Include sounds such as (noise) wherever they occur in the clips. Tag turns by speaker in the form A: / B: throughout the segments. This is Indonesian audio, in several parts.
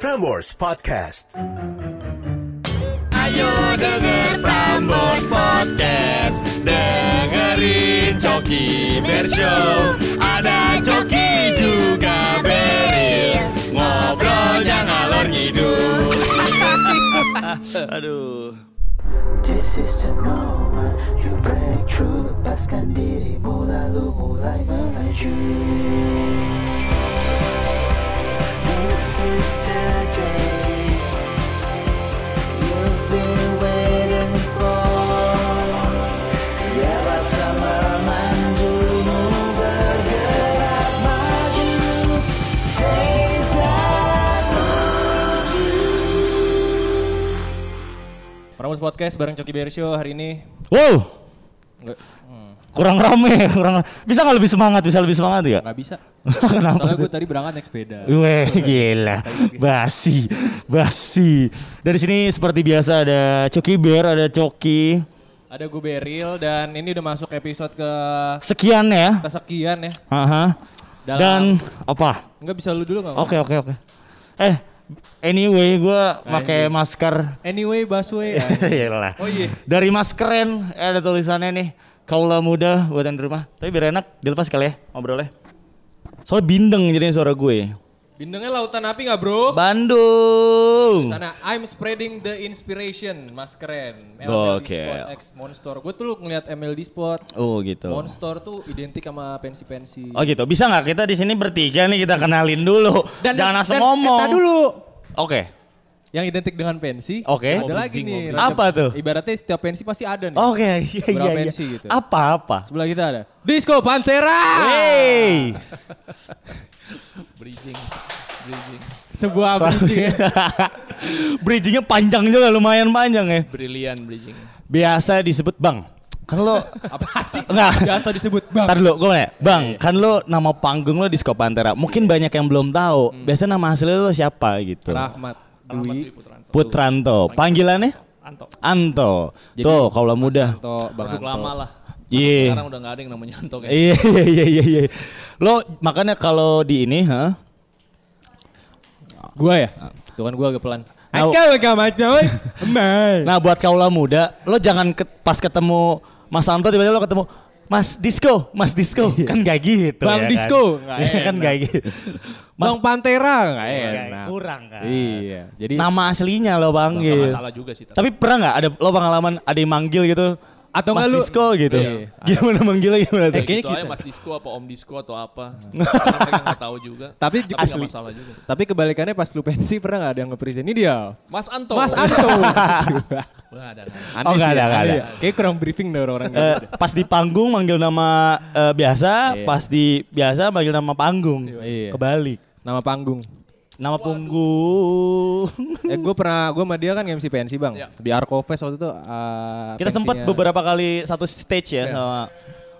A: Prambors Podcast.
B: Ayo denger Prambors Podcast Dengerin Coki Bershow Ada Coki juga Beril Ngobrolnya ngalor ngidul Aduh
C: This is the moment you break through Lepaskan dirimu lalu mulai melaju This is the day You've been waiting for Biarlah sama mandumu bergerak maju Taste that
D: Prambors Podcast bareng Coki Bear Show hari ini.
E: Wow,
D: Nggak,
E: kurang rame, kurang bisa nggak lebih semangat, bisa lebih semangat ya?
D: nggak bisa.
E: (laughs) Kenapa?
D: (laughs) Nah, Soalnya gue tadi berangkat naik sepeda.
E: Weh, gila, basi, basi. Dari sini seperti biasa ada Coki Bear, ada Coki.
D: Ada gue Beril dan ini udah masuk episode ke
E: Sekian ya.
D: kesekian ya.
E: Aha. Dan apa?
D: Nggak bisa lu dulu nggak?
E: Oke, oke, oke. Eh, anyway, gue
D: Nah,
E: pakai masker.
D: Anyway, Baswe.
E: Gila.
D: Oh iya.
E: Dari mas keren eh, ada tulisannya nih. Kaula muda buatan di rumah. Tapi biar enak, dilepas kali ya ngobrolnya. Soalnya bindeng jadinya suara gue.
D: Bindengnya lautan api nggak bro?
E: Bandung.
D: Sana I'm spreading the inspiration, mas keren. MLD
E: Gokil.
D: Spot X Monster. Gue tuh lu ngeliat MLD Spot.
E: Oh gitu.
D: Monster tuh identik sama pensi-pensi.
E: Oh gitu. Bisa nggak kita di sini bertiga nih kita kenalin dulu. Jangan langsung
D: dan-
E: ngomong.
D: eta dulu.
E: Oke.
D: Yang identik dengan pensi.
E: Oke.
D: Ada lagi nih.
E: mobil. Apa tuh?
D: Ibaratnya setiap pensi pasti ada nih.
E: Oke. Iya
D: Berapa
E: iya iya.
D: pensi gitu?
E: Apa apa?
D: Sebelah kita ada Disco Pantera.
E: Ah. Hey. (laughs)
D: Sebuah bridging. ya.
E: Bridgingnya panjang juga lumayan panjang ya.
F: Brilian bridging.
E: Biasa disebut bang. Kan lo
D: Apa sih?
E: Nggak.
D: Biasa disebut bang.
E: Ntar dulu, gue mau nanya. Bang, kan lo nama panggung lo di Pantera. Mungkin banyak yang belum tahu. Biasanya nama asli lo siapa gitu?
D: Rahmat Dwi
E: Putranto. Panggilannya?
F: Anto.
E: Anto.
D: Jadi,
E: Tuh, kalau muda.
D: Anto Bang
F: Produk
D: Anto.
F: lama lah.
E: Iya.
F: Sekarang udah nggak ada yang namanya Anto kayak.
E: Iya, iya, iya, iya, iya. Lo makanya kalau di ini, ha?
D: Gua ya? Tuh kan gua agak pelan.
E: Nah,
D: agak macam.
E: Nah, buat kaula muda, lo jangan ke- pas ketemu Mas Anto tiba-tiba lo ketemu Mas Disco, Mas Disco, kan gak gitu
D: Bang
E: ya kan?
D: Disco, nggak
E: Iya, (laughs) kan
D: enak.
E: gak gitu. Mas
D: Bang Pantera enggak
E: Nggak,
D: enak.
E: kurang kan.
D: Iya. Jadi
E: Nama aslinya lo gitu. panggil.
D: Iya.
F: Nggak salah juga sih. tapi.
E: Tapi pernah nggak ada lo pengalaman ada yang manggil gitu?
D: Atau
E: Mas
D: nggak lu-
E: Disco gitu?
D: Iya.
E: Gimana manggilnya gimana tuh?
D: Eh, kayaknya
F: gitu aja
D: kita.
F: Mas Disco apa Om Disco atau
D: (laughs)
F: apa. Karena mereka nggak tahu juga.
D: Tapi
F: tapi
D: asli.
F: nggak masalah juga. sih.
D: tapi kebalikannya pas lu pensi pernah nggak ada yang nge-present ini dia?
F: Mas Anto.
D: Mas (laughs) Anto.
F: Wah, ada nggak ada.
E: Oh, nggak ada, nggak ada.
D: Kayak kurang briefing deh orang-orang. gitu.
E: Eh, pas di panggung manggil nama eh, biasa, pas di biasa manggil nama panggung.
D: Iya.
E: Kebalik.
D: Nama panggung.
E: Nama punggung.
D: Eh gue pernah, gue sama dia kan MC pensi bang
F: Iya.
D: Di Arco Fest waktu itu uh,
E: Kita sempat
D: pensinya-
E: beberapa kali satu stage
D: Iya.
E: ya sama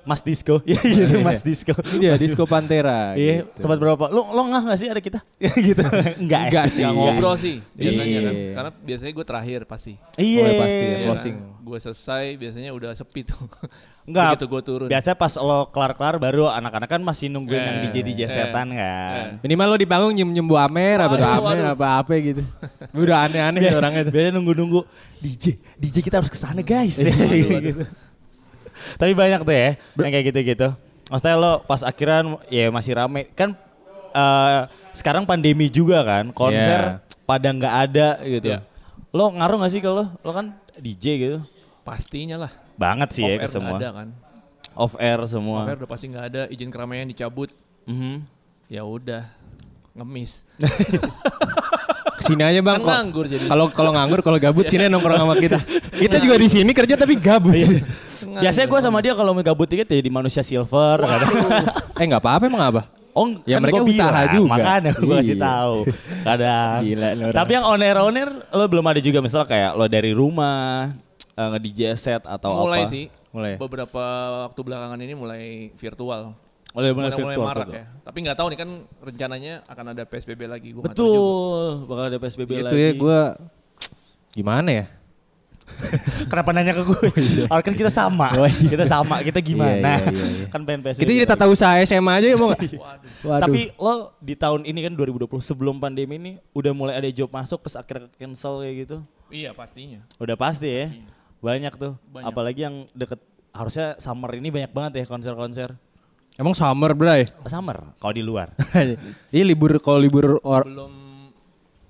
E: Mas Disco. (laughs) Iya gitu Mas Disco.
D: Ini dia, Disco Pantera
E: Iya,
D: Iya, gitu.
E: sempat berapa? Lo lo ngah nggak sih ada kita? (laughs) gitu. Enggak.
D: Nggak sih.
F: Nggak ngobrol sih biasanya
D: Iya.
F: kan. Karena biasanya gue terakhir pasti.
E: Iya.
D: Mulai pasti ya,
F: Iya,
D: closing.
F: Gue selesai biasanya udah sepi
D: (laughs)
F: tuh.
E: Enggak.
F: Begitu gue turun.
E: Biasa pas lo kelar-kelar baru anak-anak kan masih nungguin
F: Eh,
E: yang DJ-DJ
F: eh,
E: setan kan.
D: Minimal lo di panggung nyium-nyium Bu Amer, apa
F: Aduh,
D: Amer,
F: aduh. Iya.
D: apa apa gitu Udah aneh-aneh
E: Biasa,
D: tuh orangnya tuh
E: biasa nunggu-nunggu DJ, DJ kita harus kesana guys.
F: Iya,
E: (laughs) Gitu. Tapi banyak tuh ya yang kayak gitu-gitu. Maksudnya lo pas akhiran ya masih rame kan eh, sekarang pandemi juga kan konser pada nggak ada gitu.
F: Iya.
E: Lo ngaruh gak sih kalau lo kan DJ gitu?
F: Pastinya lah.
D: Iya,
E: Banget sih
F: Off
E: ya ke
F: air nggak
E: semua.
F: ada kan.
E: Off air
F: Off
D: Ah.
E: semua.
F: air udah pasti nggak ada. Izin keramaian dicabut.
E: Mhm.
F: Ya udah. Ngemis.
D: Kesini aja bang
F: Kan
D: kok.
F: nganggur jadi.
D: Kalau kalau nganggur, kalau gabut sini nongkrong sama
F: (laughs)
D: kita Kita juga di sini kerja tapi gabut
F: Iya.
D: Eh
E: Biasanya gue sama dia kalau mau gabut dikit jadi manusia silver. kadang-
D: Eh, nggak apa-apa emang apa
E: Oh,
D: (laughs) Ya, mereka
E: gua
D: usaha juga.
E: Makanya gue kasih
D: Iya.
E: tahu. Kadang.
D: Gila, ini orang.
E: Tapi yang on air on air lo belum ada juga misal kayak lo dari rumah eh, nge DJ set atau
F: mulai
E: apa.
F: sih
D: Mulai.
F: beberapa waktu belakangan ini mulai virtual
E: Mulai Oh, mulai
F: mulai, mulai
E: virtual.
F: marak
E: tuh.
F: ya tapi nggak tahu nih kan rencananya akan ada psbb lagi gua nggak tahu juga.
E: Betul, bakal ada PSBB
D: Itu
E: lagi.
D: ya gue Gitu ya, Gimana ya
E: Kenapa nanya ke
D: (laughs)
E: gue? Orang kan kita sama.
D: iya. Oh, iya.
E: Kita sama, kita gimana?
D: Iya, iya, iya, iya.
E: Kan pengen PSBB.
D: Kita jadi tata usaha SMA aja ya mau nggak?
F: Waduh.
D: Waduh.
E: Tapi lo di tahun ini kan 2020 sebelum pandemi ini udah mulai ada job masuk terus akhirnya cancel kayak gitu.
F: Iya pastinya.
E: Udah pasti ya. Banyak tuh.
F: Iya. Banyak.
E: Apalagi yang deket harusnya summer ini banyak banget ya konser-konser.
D: emang summer bray. (laughs)
F: Oh.
E: Summer kalau di
F: (laughs)
E: luar.
D: Iya libur kalau libur or
F: Belum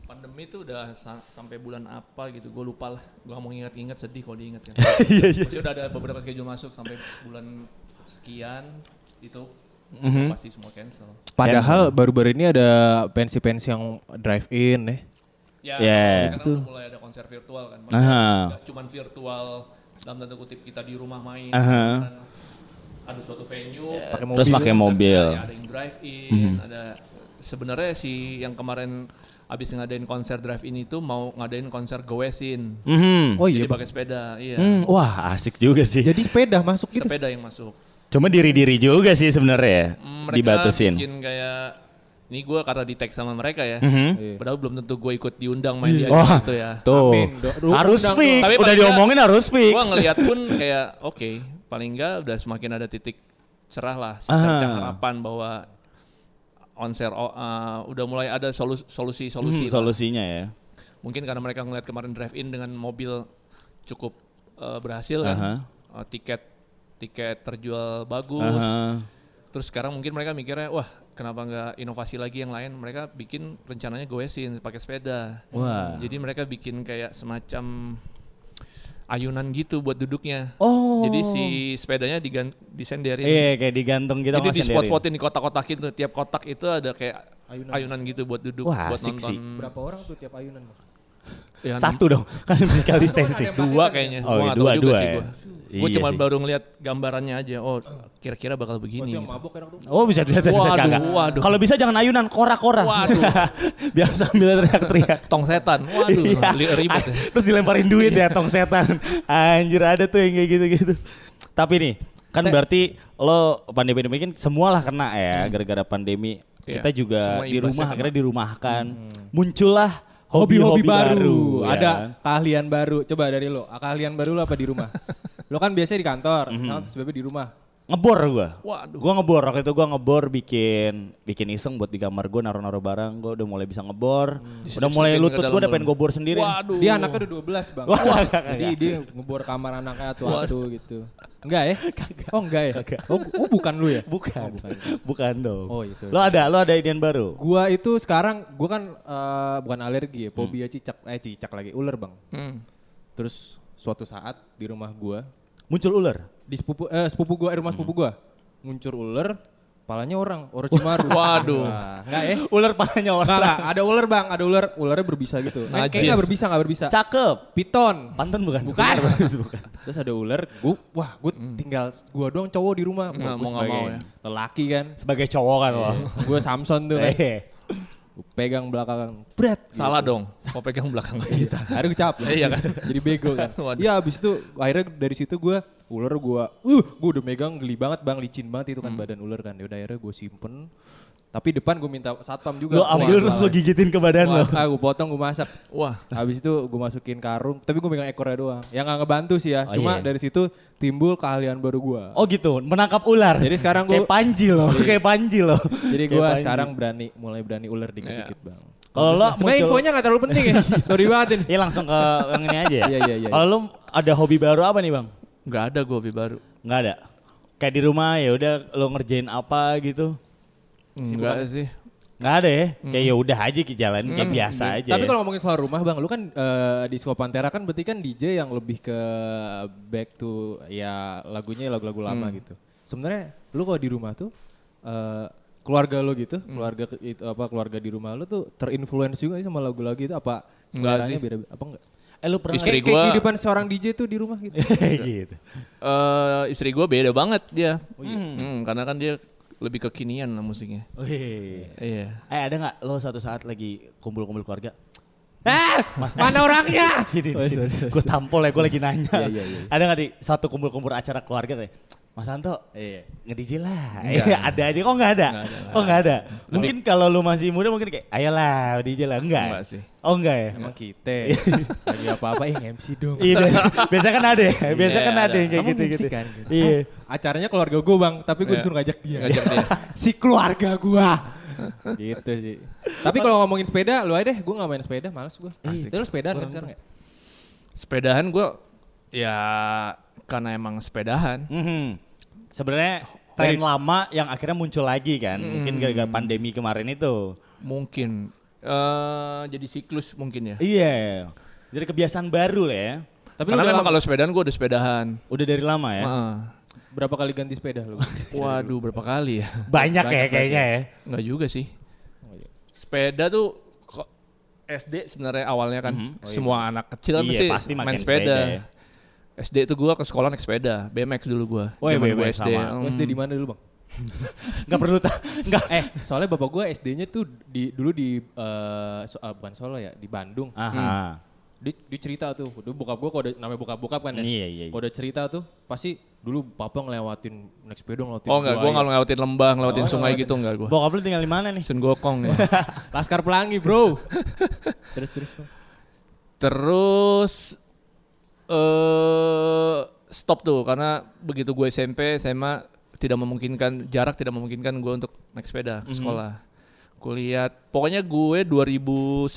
F: pandemi tuh udah sa- sampai bulan apa gitu. Gue lupa lah. Gue mau nginget-nginget sedih kalau diinget
E: (laughs)
F: kan.
E: Iya,
F: Maksudnya udah ada beberapa schedule masuk sampai bulan sekian itu
E: Mhm.
F: pasti semua cancel.
D: padahal baru-baru ini ada pensi-pensi yang drive in ya.
F: Ya,
E: Ya,
F: sekarang
D: gitu.
F: udah mulai ada konser virtual kan.
E: Aha.
F: Gak cuman virtual dalam tanda kutip kita di rumah main.
E: Aha. Iya.
F: kan Ada suatu venue, pakai
E: Terus pakai
F: iya.
E: mobil.
F: ada- Ada yang drive in,
E: Mhm.
F: ada sebenarnya si yang kemarin abis ngadain konser drive in itu mau ngadain konser goesin.
E: Mhm.
D: Oh
F: Jadi
D: iya. Bang.
F: pakai sepeda, iya.
E: Hmm, Wah asik juga sih.
D: Jadi sepeda masuk gitu.
F: Sepeda yang masuk.
E: Cuma diri-diri juga sih sebenarnya ya,
F: Mm, Mereka
E: dibatasin.
F: bikin kayak ini gue karena di tag sama mereka ya.
E: Mhm. Iya.
F: Padahal belum tentu gue ikut diundang main di acara
E: Wah,
F: itu ya.
E: Tuh.
D: Amin, dok. Lu
E: harus
D: undang
E: fix,
F: Tapi
E: udah
F: paling
E: diomongin harus fix.
F: Gua ngelihat pun kayak oke, paling enggak udah semakin ada titik cerah lah, secerca
E: Ah.
F: harapan bahwa onser oh, uh, udah mulai ada solu-
E: Hmm,
F: solusi-solusi. lah.
E: solusinya ya.
F: Mungkin karena mereka ngelihat kemarin drive in dengan mobil cukup uh, berhasil kan.
E: Aha.
F: Uh, tiket tiket terjual bagus.
E: Aha.
F: Terus sekarang mungkin mereka mikirnya, wah kenapa nggak inovasi lagi yang lain? Mereka bikin rencananya goesin pakai sepeda.
E: Wah.
F: Jadi mereka bikin kayak semacam ayunan gitu buat duduknya.
E: Oh.
F: Jadi si sepedanya digan disenderin.
E: Iya kayak digantung gitu
F: Jadi
E: sama
F: di
E: sendiri.
F: spot-spotin di kotak-kotak itu. Tiap kotak itu ada kayak ayunan, gitu buat duduk,
E: Wah,
F: buat
E: asik
F: nonton.
E: sih.
D: Berapa orang tuh tiap ayunan?
F: Ya,
E: Satu dong, (laughs) kan physical distancing.
F: Dua kayaknya.
E: Oh,
F: Gua nggak tahu
E: dua,
F: juga
E: dua
F: sih
E: ya.
F: gua. Gua
E: Iya
F: cuma
E: sih.
F: baru ngeliat gambarannya aja. Oh, kira-kira bakal begini. gitu.
D: mabok enak tuh.
E: Oh bisa bisa bisa
F: Waduh,
E: kagak.
F: waduh.
E: Kalau bisa jangan ayunan kora-kora.
F: Waduh.
E: (laughs) Biar sambil teriak-teriak.
F: gitu. Tong setan. Waduh,
E: Iya.
F: (laughs) li- ribet ya.
E: (laughs) Terus dilemparin duit ya tong setan. Anjir ada tuh yang kayak gitu-gitu. Tapi nih, kan berarti lo pandemi ini kan semualah kena ya gara-gara pandemi.
F: Hmm. Iya.
E: Kita juga
F: Semua
E: di
F: imbasnya
E: rumah
F: kena. Hmm.
E: akhirnya dirumahkan. Muncullah
D: Hobi-hobi baru, Iya.
E: ya
D: ada
E: kan?
D: keahlian baru. Coba dari lo, keahlian baru lo apa di (laughs) rumah? lo kan biasanya di kantor, sekarang terus bebe di rumah.
E: ngebor gua.
F: Waduh.
E: Gua ngebor waktu itu gua ngebor bikin bikin iseng buat di kamar gua naruh-naruh barang. Gua udah mulai bisa ngebor.
D: Hmm.
E: Udah
F: Diselip-selipin
E: mulai
F: ke
E: lutut gua udah
F: dalam
E: pengen
F: dulu.
E: gobor sendiri.
F: Waduh.
D: Dia anaknya udah 12 bang.
E: Wah, kagak,
D: Jadi
E: kagak.
D: dia ngebor kamar anaknya tuh aduh gitu. Enggak ya? Oh enggak ya? Oh, oh, bukan lu ya?
E: Bukan.
D: Oh,
E: (laughs) bukan. dong.
D: Oh, iya, sorry,
E: Lo ada, lo ada ide baru.
D: Gua itu sekarang, gua kan eh, bukan alergi ya, fobia cicak, eh cicak lagi, ular bang.
F: Hmm.
D: Terus suatu saat di rumah gua,
E: Muncul ular.
D: di sepupu, eh, sepupu gua, eh, rumah sepupu gua, muncul ular, palanya orang, Orochimaru.
F: Waduh.
D: Wah, Enggak ya?
E: Ular palanya
D: Enggak,
E: orang.
D: enggak, ada ular bang, ada ular, ularnya berbisa gitu. Eh,
F: Najis.
D: Kayaknya enggak berbisa, enggak berbisa.
E: Cakep.
D: Piton.
E: Panten bukan?
D: Bukan.
E: bukan.
D: Terus ada ular, gua, wah gue tinggal, gua doang cowok di rumah.
F: Nah, mau Hmm.
D: Gua
F: nggak
D: sebagai
F: mau ya.
D: Lelaki kan,
E: Sebagai cowok kan lo.
D: gue Samson tuh
F: (laughs)
D: kan.
E: Eh,
D: Gua pegang belakangan, berat.
F: Salah dong. Mau pegang belakang
D: Gitu. Akhirnya gue capek.
F: Iya kan?
D: (laughs) Jadi bego kan.
F: (laughs) Waduh.
D: Iya abis itu akhirnya dari situ gue ular gue, uh gue udah megang geli banget bang, licin banget
F: Hmm.
D: itu kan badan ular kan. Yaudah akhirnya gue simpen. Tapi depan gue minta satpam juga.
E: Lo ambil terus lo gigitin ke badan lo.
D: Ah gue potong gue masak.
F: Wah.
D: Abis itu gue masukin karung, tapi gue megang ekornya doang. Ya gak ngebantu sih ya,
E: Oh,
D: cuma
E: iya.
D: dari situ timbul keahlian baru gue.
E: Oh gitu, menangkap ular.
D: Jadi sekarang gua-
E: kayak panji lo, kayak panji lo.
D: Jadi
E: Kayak
D: gue
E: panji.
D: sekarang berani, mulai berani ular dikit-dikit
E: Iya.
D: bang.
E: kalau lo
D: Sebenernya
E: muncul-
D: infonya gak terlalu
E: (laughs)
D: penting ya, sorry banget ini.
E: Ya langsung ke yang ini aja ya.
D: Iya, iya, iya.
E: Kalau lu ada hobi baru apa nih, Bang?
F: Nggak ada gue hobi baru.
E: Enggak ada. Kayak di rumah ya udah lo ngerjain apa gitu.
F: Enggak sih.
E: Enggak ada ya. Kayak ya udah aja ke jalan kayak biasa aja.
D: Tapi
E: ya.
D: kalau ngomongin soal rumah bang, lu kan eh, di Suka Pantera kan berarti kan DJ yang lebih ke back to ya lagunya lagu-lagu lama
E: Hmm.
D: gitu. Sebenarnya lu kalau di rumah tuh eh, keluarga lu gitu,
E: Hmm.
D: keluarga ke- itu apa keluarga di rumah lu tuh terinfluence juga sih sama lagu-lagu itu apa
F: Enggak
D: seleranya
F: sih.
D: beda apa enggak?
E: eh lu pernah
F: Istri
D: Kayak
F: gua-
D: kehidupan seorang DJ tuh di rumah gitu.
E: (laughs) gitu.
F: Eh istri gue beda banget dia.
D: Oh, iya?
F: Hmm, karena kan dia lebih kekinian lah musiknya.
E: Wih.
F: Iya.
E: Eh ada nggak lo suatu saat lagi kumpul-kumpul keluarga?
D: (laughs) eh, mana orangnya?
E: (laughs)
D: Oh,
E: Sini, sini. Gue tampol ya, gue lagi nanya.
D: iya, iya.
E: Ada nggak di satu kumpul-kumpul acara keluarga kayak, Mas Santo,
D: Iya.
E: nge-DJ lah.
F: Enggak.
E: Iya, ada aja kok enggak ada.
F: Enggak ada lah.
E: oh enggak ada.
F: Lebih-
E: Mungkin kalau lu masih muda mungkin kayak ayolah DJ lah enggak.
F: Enggak sih.
E: Oh enggak ya.
D: Emang gitu. (laughs) kita lagi apa-apa eh MC dong.
E: Iya, biasa, biasa kan ada ya. Biasa
F: Iya,
E: kan ada yang
F: ada.
E: kayak
D: Kamu
E: gitu-gitu.
D: MC kan?
E: Iya.
D: Acaranya keluarga gue bang, tapi gue
F: Iya.
D: disuruh ngajak dia.
F: Ngajak dia.
D: (laughs) si keluarga gue. (laughs) gitu sih. Tapi kalau ngomongin sepeda, lu aja deh. Gue gak main sepeda, males gue. Asik. Lu sepeda kan sekarang ya?
F: Sepedahan gue ya karena emang sepedahan.
E: Mhm. Sebenarnya tren lama yang akhirnya muncul lagi kan. Mungkin
D: Mm-hmm.
E: gara-gara pandemi kemarin itu.
F: Mungkin eh jadi siklus mungkin ya.
E: Iya. Jadi kebiasaan baru lah ya.
D: Tapi lu
F: Karena
D: udah
F: memang
D: lama-
F: kalau sepedahan gue udah sepedahan.
E: Udah dari lama ya.
F: Heeh.
D: berapa kali ganti sepeda lu?
F: Eh. Waduh berapa kali ya? (laughs)
E: Banyak, ya kayaknya ya.
F: Enggak juga sih. Sepeda tuh kok SD sebenarnya awalnya kan semua anak kecil kan
E: Iya,
F: pasti,
E: pasti makin
F: main
E: sepeda
F: sepeda.
E: ya.
F: SD tuh gua ke sekolah naik sepeda, BMX dulu gua.
E: Oh, iya,
F: Zaman gua
E: BMX sama.
D: Lu
F: Hmm.
D: SD di mana dulu bang?
E: Enggak perlu
F: (laughs)
E: tak. Enggak.
D: Eh, soalnya bapak gue SD-nya tuh di dulu di eh, so- ah, bukan Solo ya, di Bandung.
E: Aha.
D: Dia, dia cerita tuh, dulu bokap gue kalau udah- namanya bokap-bokap kan ya.
E: Iya, iya, iya.
D: Kalau udah cerita tuh, pasti dulu papa ngelewatin naik sepeda ngelewatin
F: Oh enggak, gua
D: buaya.
F: enggak ngelewatin lembah, ngelewatin
E: Oh,
F: sungai gitu enggak gua.
E: Bokap lu tinggal di mana nih?
F: (laughs) Sun Gokong
E: (laughs)
F: ya.
D: Laskar Pelangi, bro. terus terus. Bang.
F: Terus eh stop tuh karena begitu gue SMP SMA tidak memungkinkan jarak tidak memungkinkan gue untuk naik sepeda ke sekolah. Kulihat pokoknya gue 2010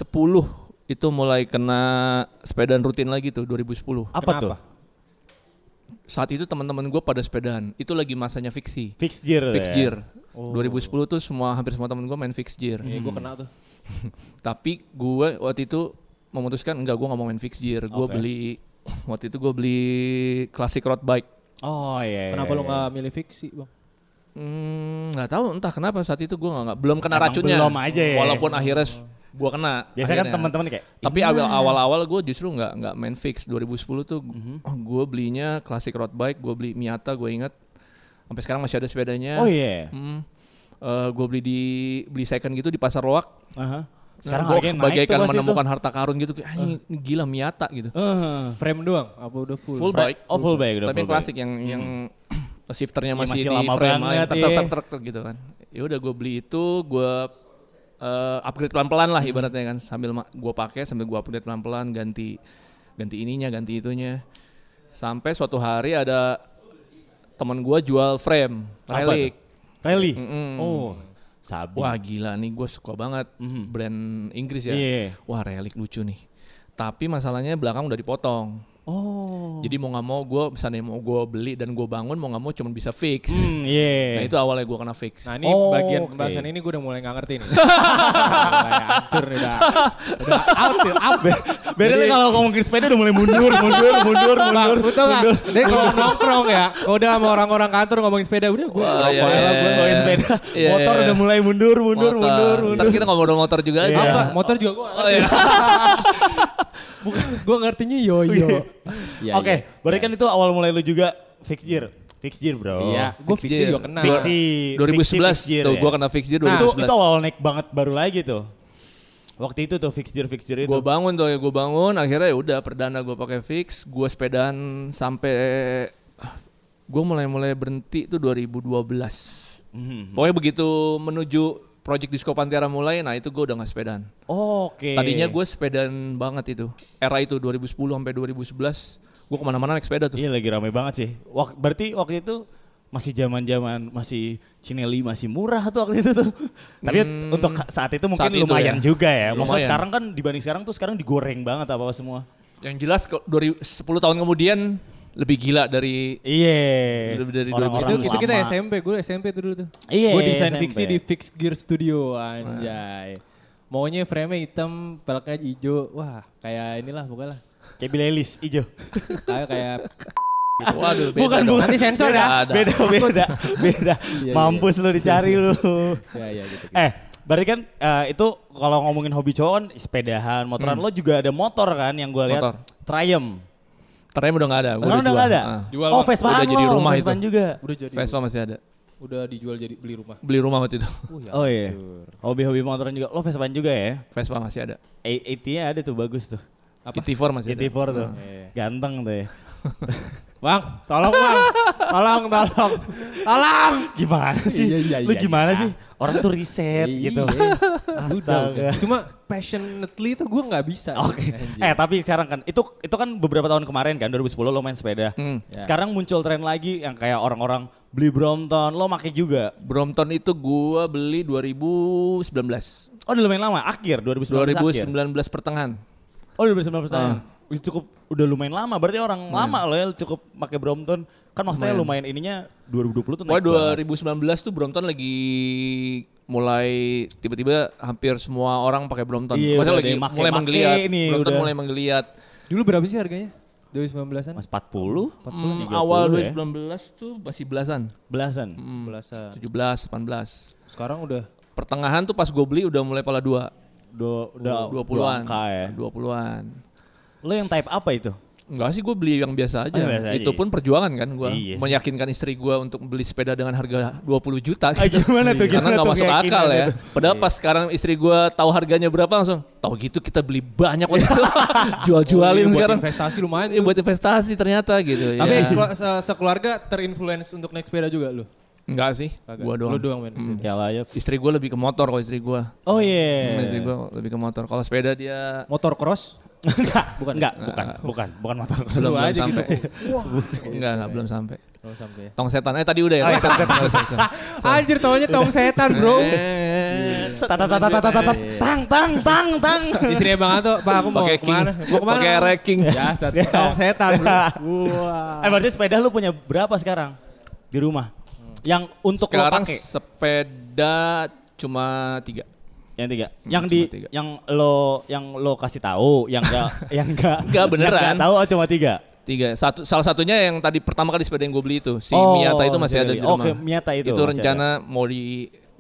F: itu mulai kena sepedaan rutin lagi tuh 2010.
E: Apa
D: Kenapa?
E: tuh?
F: Saat itu teman-teman gue pada sepedaan. Itu lagi masanya fiksi.
E: Fix gear.
F: Fix
E: ya?
F: gear. 2010 tuh semua hampir semua teman gue main fix gear.
D: Ya, gue kena tuh.
F: Tapi gue waktu itu memutuskan enggak gue nggak mau main fixed gear. Gue
E: Oke.
F: beli waktu itu gue beli classic road bike.
E: Oh iya.
D: Kenapa
E: iya,
D: lu
E: iya.
D: nggak milih fiksi, Bang?
F: Hmm, nggak tahu entah kenapa saat itu gue nggak nggak- belum kena
E: Emang
F: racunnya.
E: belum aja ya.
F: Walaupun akhirnya s- gue kena.
E: Biasanya kan
F: akhirnya.
E: teman-teman kayak
F: Tapi awal awal awal gue justru nggak nggak main fix 2010 tuh
E: Mhm.
F: gue belinya classic road bike gue beli Miata gue ingat sampai sekarang masih ada sepedanya
E: Oh iya.
F: Hmm. Eh, gue beli di beli second gitu di pasar loak
E: Aha. Sekarang
F: Nah, gua
E: harganya naik
F: bagaikan
E: tuh pas itu.
F: menemukan harta karun gitu kayak "Anjing, ini gila Miata gitu
E: Heeh.
D: Frame doang apa udah full?
F: full
E: Fra-
F: bike
E: oh, full bike, udah
F: tapi
E: full
F: yang klasik yang yang shifternya
E: Iya,
F: masih,
E: masih
F: di
E: lama
F: frame
E: banget,
F: ter- ter-
E: iya.
F: ter- ter- ter- gitu kan ya udah gue beli itu gue eh, upgrade pelan pelan
E: Hmm.
F: lah ibaratnya kan sambil gue pakai sambil gue upgrade pelan pelan ganti ganti ininya ganti itunya sampai suatu hari ada teman gue jual frame
E: Apa
F: relic
E: Rally.
F: Mm-mm.
E: Oh, sabi.
F: Wah gila nih gue suka banget brand Inggris ya.
E: Mhm. Iya.
F: Wah relik lucu nih. Tapi masalahnya belakang udah dipotong.
E: Oh.
F: Jadi mau nggak mau gue misalnya mau gue beli dan gue bangun mau nggak mau cuma bisa fix.
E: Hmm, iya.
F: Nah itu awalnya gue kena fix.
D: Nah ini
E: Oh,
D: bagian
E: oke.
D: pembahasan ini gue udah mulai nggak (laughs) ngerti nih. mulai hancur nih dah. Udah out nih, out.
F: (laughs)
E: Beda nih kalau ngomongin sepeda udah mulai mundur, mundur, mundur,
D: Bang,
E: mundur.
D: lu tau gak? Dia kalau nongkrong ya, kalau udah sama orang-orang kantor ngomongin sepeda, udah gue
F: Wah, iya,
E: Wah,
F: iya,
E: gue
F: iya.
E: ngomongin sepeda.
F: (laughs) Iya,
E: Motor
F: iya.
E: udah mulai mundur,
F: Motor.
E: mundur, mundur, mundur. Iya.
F: Ntar kita ngomong motor juga aja.
D: apa? Motor juga gue
F: Oh, iya.
D: Bukan, gue ngertinya yoyo. Iya,
E: Oke, berarti kan itu awal mulai lu juga fix gear. Fix gear, Bro. Nah,
D: Iya, gue fiksi juga kenal.
E: Fiksi.
F: (laughs)
E: Fiksi,
F: 2011
E: fiksi gear
F: tuh
E: ya.
F: gue kena fix gear 2011.
E: Nah, itu, itu awal naik banget baru lagi tuh. Waktu itu tuh fix gear, fix gear itu.
F: Gue bangun tuh ya, gue bangun. Akhirnya ya udah perdana gue pakai fix. Gue sepedaan sampai gue mulai-mulai berhenti tuh 2012.
E: Mhm.
F: Pokoknya begitu menuju Project Disco Pantera mulai, nah itu gue udah nggak sepedaan.
E: Oke.
F: Tadinya gue sepedaan banget itu. Era itu 2010 sampai 2011, gue kemana-mana naik sepeda tuh.
E: Iya lagi ramai banget sih. Wak- berarti waktu itu masih zaman-zaman masih Cinelli masih murah tuh waktu itu tuh. Tapi untuk ka- saat itu mungkin
F: Hmm. Saat itu
E: lumayan
F: ya.
E: juga ya. Maksudnya
F: Lumayan.
E: sekarang kan dibanding sekarang tuh sekarang digoreng banget apa apa semua.
F: Yang jelas kalau 2000 10 tahun kemudian lebih gila dari
E: Iya.
F: Dari- dari
D: Itu,
F: 2011.
E: Orang-orang
D: itu
E: lama.
D: kita SMP, gue SMP tuh dulu tuh.
E: Iya,
D: Gue desain
E: SMP.
D: fiksi di Fix Gear Studio, anjay. Maunya frame hitam, peleknya hijau. Wah, kayak inilah pokoknya lah.
E: Kayak Billie Eilish, ijo.
D: Kayak kayak
F: gitu. Wadah, beda
E: bukan,
F: dong.
E: bukan.
D: Nanti sensor
E: beda,
D: ya.
E: Beda, beda, beda.
D: iya.
E: Mampus lu dicari lu.
D: ya ya gitu.
E: eh, berarti kan eh, itu kalau ngomongin hobi cowok kan sepedahan, motoran lo juga ada motor kan yang gue lihat.
F: Motor.
E: Triumph.
F: Ternyata udah nggak ada. gua
E: Sekarang udah nggak ada.
F: Ah.
D: Jual
E: oh,
D: lah.
E: Vespaan
F: Udah jadi
E: lo,
F: rumah itu.
E: Vespaan juga.
D: Udah jadi.
F: Vespa masih ada.
D: Udah dijual jadi beli rumah.
F: Beli rumah waktu itu.
D: Oh ya.
E: Oh iya.
D: hancur.
E: Hobi-hobi motoran juga. Lo Vespaan juga ya?
F: Vespa masih ada.
E: AT-nya ada tuh bagus tuh.
D: Apa?
E: E
F: ET4 masih ada.
E: GT4 tuh.
D: Oh, iya.
E: Ganteng tuh ya.
D: (laughs) Bang, tolong bang, tolong, tolong, tolong.
E: Gimana sih?
D: Iya, iya,
E: Lu
D: iya,
E: gimana
D: iya.
E: sih? Orang tuh riset
D: Iya.
E: gitu. (laughs) Astaga.
D: Cuma passionately tuh gue nggak bisa.
E: Oke.
D: Anjir.
E: Eh tapi sekarang kan itu itu kan beberapa tahun kemarin kan 2010 lo main
D: Ya.
E: sepeda. Sekarang muncul tren lagi yang kayak orang-orang beli Brompton, lo make juga.
F: Brompton itu gua beli 2019.
E: Oh, udah lumayan lama, akhir 2019 akhir.
F: 2019 pertengahan.
E: Oh,
F: Ah.
E: 2019 tahun. Wih, cukup udah lumayan lama. Berarti orang lama lo ya cukup make Brompton. Kan maksudnya lumayan, ininya 2020 tuh naik.
F: Pokoknya
E: banget.
F: 2019 tuh Brompton lagi mulai tiba-tiba hampir semua orang pakai Brompton.
E: Iya,
F: Maksudnya
E: udah
F: lagi
E: ada yang make-
F: mulai
E: make
F: menggeliat.
E: ini,
F: Brompton
E: udah.
F: mulai menggeliat.
D: Dulu berapa sih harganya? 2019-an?
E: Mas 40,
F: Hmm,
E: 40 30
F: awal
E: ya.
F: 2019 tuh masih belasan.
E: belasan.
F: Hmm,
D: 17-an.
F: 17, 18.
D: Sekarang udah
F: Pertengahan tuh pas gue beli udah mulai pala 2.
E: Do, udah
F: 20-an.
E: angka ya.
F: 20-an.
E: Lo yang type apa itu?
F: Enggak sih gue beli yang biasa aja.
E: Oh, yang biasa aja.
F: Itu pun perjuangan kan gue.
E: Iya sih.
F: Meyakinkan istri gue untuk beli sepeda dengan harga 20 juta. gitu.
E: Ah, gimana
F: Karena
E: tuh, gimana
F: nggak
E: tuh Iya.
F: masuk akal
E: keyakinannya
F: ya.
E: tuh?
F: Padahal pas sekarang istri gue tahu harganya berapa langsung. Tahu gitu kita beli banyak waktu
E: (laughs)
F: itu. (laughs) Jual-jualin
D: Oh, iya, buat
F: sekarang.
D: investasi lumayan
F: Iya,
D: tuh.
F: buat investasi ternyata gitu.
D: Tapi
F: ya.
D: kelu- se- sekeluarga terinfluence untuk naik sepeda juga lu?
F: Enggak sih.
D: Kagak.
F: Gue doang.
D: Lu doang Hmm. men.
E: Ya lah ya.
F: Istri gue lebih ke motor kalau istri gue.
E: Oh iya.
F: Istri gue lebih ke motor. Kalau sepeda dia
D: Motor cross?
E: (laughs)
D: Bukan.
E: Enggak, bukan. Enggak, bukan, bukan, bukan motor.
F: belum,
E: (laughs)
D: Lu
F: belum
D: aja
F: sampai.
D: gitu.
F: Enggak, enggak, belum sampai.
D: Belum sampai ya.
F: Tong setan. Eh tadi udah
E: Oh,
F: ya.
E: iya,
F: Tong setan. Sorry, sorry, sorry.
D: Anjir taunya tong setan bro.
F: Eh,
E: Tatatatatatatata- Tang, tang, tang, tang.
D: Istrinya Bang Anto, Pak aku mau
F: Pakai king.
D: kemana? Mau kemana?
F: Pakai reking.
D: Ya, satu tong setan
E: (laughs)
D: bro. Wah.
E: Eh berarti sepeda lu punya berapa sekarang di rumah? Yang untuk lo
F: Sekarang
E: pakai?
F: sepeda cuma tiga.
E: Yang tiga.
F: Hmm,
E: Yang
F: cuma
E: di
F: tiga.
E: yang lo yang lo kasih tahu, yang
F: (laughs)
E: enggak yang enggak
F: Enggak, beneran.
E: yang enggak tahu oh, cuma tiga.
F: Tiga. Satu, salah satunya yang tadi pertama kali sepeda yang gue beli itu. Si
E: Oh,
F: Miata itu masih
E: masih
F: ada
E: ada.
F: di rumah.
E: Oke, Miata itu
F: Itu
E: masih
F: rencana mau di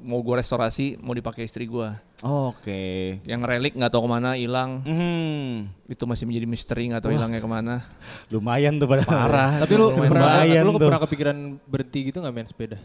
F: mau gue restorasi, mau dipakai istri gue.
E: Oke.
F: Yang relik nggak tahu kemana hilang.
E: Hmm.
F: Itu masih menjadi misteri nggak tahu hilangnya kemana.
E: Lumayan tuh padahal.
F: Parah.
D: Tapi lu
F: Lumayan
D: pernah,
E: bahaya
D: lu
E: tuh.
D: pernah kepikiran berhenti gitu nggak main sepeda?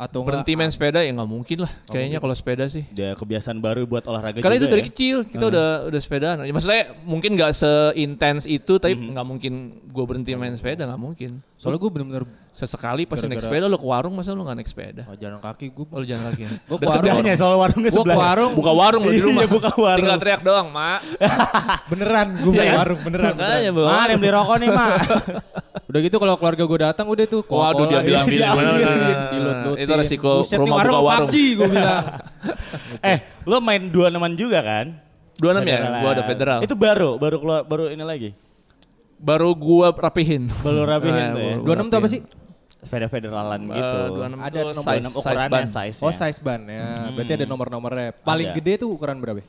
D: Atau nggak-
F: Berhenti main sepeda ya nggak mungkin lah. Kayaknya kalau sepeda sih.
E: Dia kebiasaan baru buat olahraga
F: Karena itu
E: juga
F: dari
E: ya.
F: kecil kita udah udah sepedaan. Ya, Maksudnya mungkin nggak seintens itu, tapi
E: Hmm.
F: nggak mungkin gue berhenti main sepeda nggak mungkin.
D: Soalnya gue bener-bener
F: Sesekali pasti naik
D: Gara-gara-
F: sepeda lo ke warung masa lo nggak naik sepeda?
D: oh, jalan kaki gue.
F: Oh, lo jalan lagi.
D: Gue ke
E: Dan sebelahnya
D: warung.
E: soal warungnya
D: Gue ke
E: sebelah.
D: warung
F: ya? Buka warung lo di
E: Iya,
F: rumah.
E: buka warung. Iya,
F: Tinggal teriak doang, Mak.
D: beneran gue
F: Iya
D: ke
F: kan?
D: warung beneran. beneran.
F: Makanya, Bu.
E: Ma, ada yang beli rokok nih,
F: (laughs)
E: Ma.
F: Oh,
D: Udah gitu kalau keluarga gue datang udah tuh.
F: Waduh, dia bilang bilang.
D: (laughs)
E: Iya, iya,
F: Bener,
E: iya,
F: bener, (laughs)
E: iya.
F: bener. Itu resiko rumah
D: warung,
F: buka warung.
D: PUBG gue
F: (laughs)
D: bilang.
E: eh, lo main dua teman juga kan?
F: 26 ya,
E: Federal.
F: gue ada federal.
E: Itu baru, baru keluar, baru ini lagi.
F: baru gue rapihin.
E: Baru rapihin
F: Eh,
E: tuh ya.
F: baru
D: 26 tuh
F: rapihin.
D: apa sih?
E: Sepeda federalan
F: Eh,
E: gitu.
F: 26
D: Ada
F: tuh
D: nomor
F: size,
E: enam
F: size
E: ukurannya
F: ban.
E: size
D: Oh
E: ya.
D: size ban ya.
F: Hmm.
D: Berarti ada nomor-nomornya. Paling
E: Ada.
D: gede tuh ukuran berapa? ya?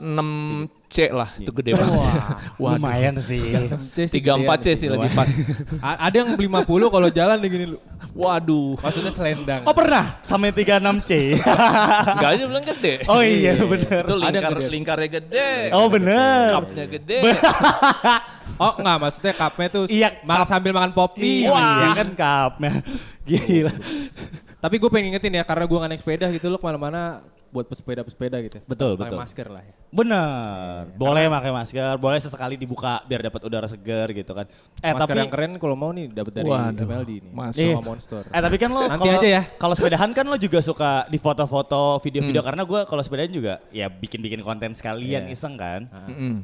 F: 36 C lah, itu gede banget. (laughs) Wah,
E: Lumayan sih. ya,
D: 6C sih gedean.
F: 34 C sih lebih pas.
D: A- ada yang 50 kalau jalan nih gini lu.
F: Waduh.
D: Maksudnya selendang.
E: (laughs) oh pernah? Sampai 36C.
F: Enggak aja bilang gede.
E: (laughs) oh iya bener.
F: Itu lingkar,
D: yang gede.
F: lingkarnya gede.
E: Oh bener.
F: Cupnya gede.
D: Oh enggak maksudnya cupnya tuh
E: Iya,
D: ma- sambil makan popi.
E: Iya iya kan cupnya. (laughs) Gila.
D: Tapi gue pengen ngingetin ya karena gue gak naik sepeda gitu lo kemana-mana buat pesepeda-pesepeda gitu. ya.
E: Betul,
D: Pakai
E: betul.
D: masker lah ya.
E: Bener. Boleh pakai masker, boleh sesekali dibuka biar dapat udara segar gitu kan. Eh
D: masker
E: tapi
D: yang keren kalau mau nih dapat dari
F: Waduh,
D: MLD nih.
F: masuk.
D: Sama
E: Iya.
D: Monster.
E: Eh tapi kan lo
D: Nanti
E: kalau-
D: aja ya.
E: Kalau sepedahan kan lo juga suka di foto-foto, video-video karena gue kalau sepedaan juga ya bikin-bikin konten
D: Hmm.
E: sekalian
D: Iya.
E: iseng kan.
F: Mm-mm.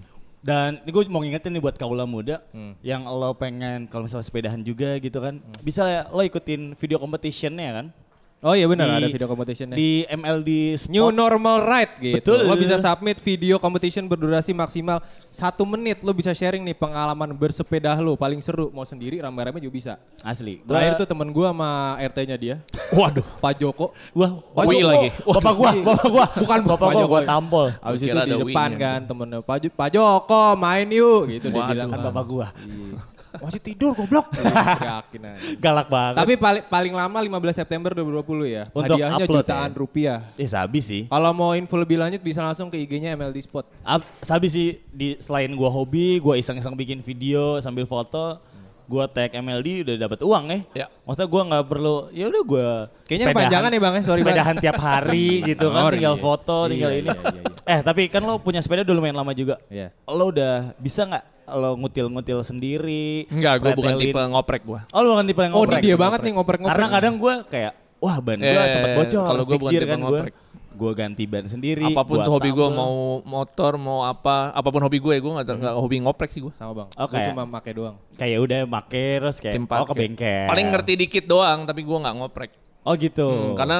E: Dan ini gue mau ngingetin nih buat kaula muda
D: Hmm.
E: yang lo pengen kalau misalnya sepedahan juga gitu kan, bisa ya lo ikutin video competitionnya kan.
D: Oh iya benar
E: Di-
D: ada video competitionnya.
E: Di MLD Sport.
D: New normal ride gitu.
E: Betul.
D: Lo bisa submit video competition berdurasi maksimal satu menit. Lo bisa sharing nih pengalaman bersepeda lo paling seru. Mau sendiri rame-rame juga bisa.
E: Asli. Gua-
D: Terakhir tuh temen gue sama RT-nya dia,
E: Waduh.
D: Pak Joko.
E: Wah,
D: Pak
F: Wii
D: Joko.
F: lagi.
E: Bapak gua, bapak gua.
D: iya. Bukan Pak
E: bapak gua,
D: Jokowi.
E: gua tampol.
D: Abis itu
F: Kira
D: di
F: ada
D: depan
F: Wii-nya.
D: kan temennya, Pak, Jo- Pak Joko main yuk gitu dia
F: Waduh.
D: bilang.
E: Kan bapak gua. (laughs)
D: Iya. Masih tidur goblok. Yakin aja.
E: Galak banget.
D: Tapi paling paling lama 15 September 2020 ya.
E: Untuk
D: Hadiahnya
E: upload
D: jutaan
E: ya.
D: rupiah.
E: eh sabi sih.
D: Kalau mau info lebih lanjut bisa langsung ke IG-nya MLD Spot.
E: Ab, sabi sih di selain gua hobi, gua iseng-iseng bikin video sambil foto, gua tag MLD udah dapat uang
F: Ya.
E: ya. Maksudnya gua nggak perlu ya udah gua
D: Kayaknya
E: sepedahan-
D: kepanjangan ya, Bang, ya. Sorry, Bang.
E: Sepedahan tiap
D: (laughs)
E: hari gitu kan
D: Sorry.
E: tinggal foto,
D: Iya,
E: tinggal
D: iya,
E: ini.
D: iya,
E: Eh, tapi kan lo punya sepeda udah lumayan lama juga.
D: Iya.
E: Lo udah bisa nggak lo ngutil-ngutil sendiri?
F: Enggak, gue bukan
E: pretelin?
F: tipe ngoprek gue.
E: Oh, lo bukan tipe yang
D: Oh,
E: ngoprek.
D: dia banget nih ngoprek-ngoprek.
E: Karena kadang gue kayak wah ban gue
F: Eh,
E: sempet bocor.
F: kalau gua
E: fix
F: bukan
E: gear
F: tipe
E: kan gue.
F: ngoprek.
E: Gue ganti ban sendiri.
F: Apapun
E: gua
F: tuh hobi gue,
E: tambel.
F: mau motor, mau apa, apapun hobi gue, gue nggak nggak hobi ngoprek sih gue.
D: sama bang.
E: Oke.
D: Gue cuma pakai doang.
E: kayak udah make terus kayak
F: Tim
E: oh ke
F: parkir.
E: bengkel.
F: Paling ngerti dikit doang, tapi gue nggak ngoprek.
E: Oh gitu.
F: Hmm, karena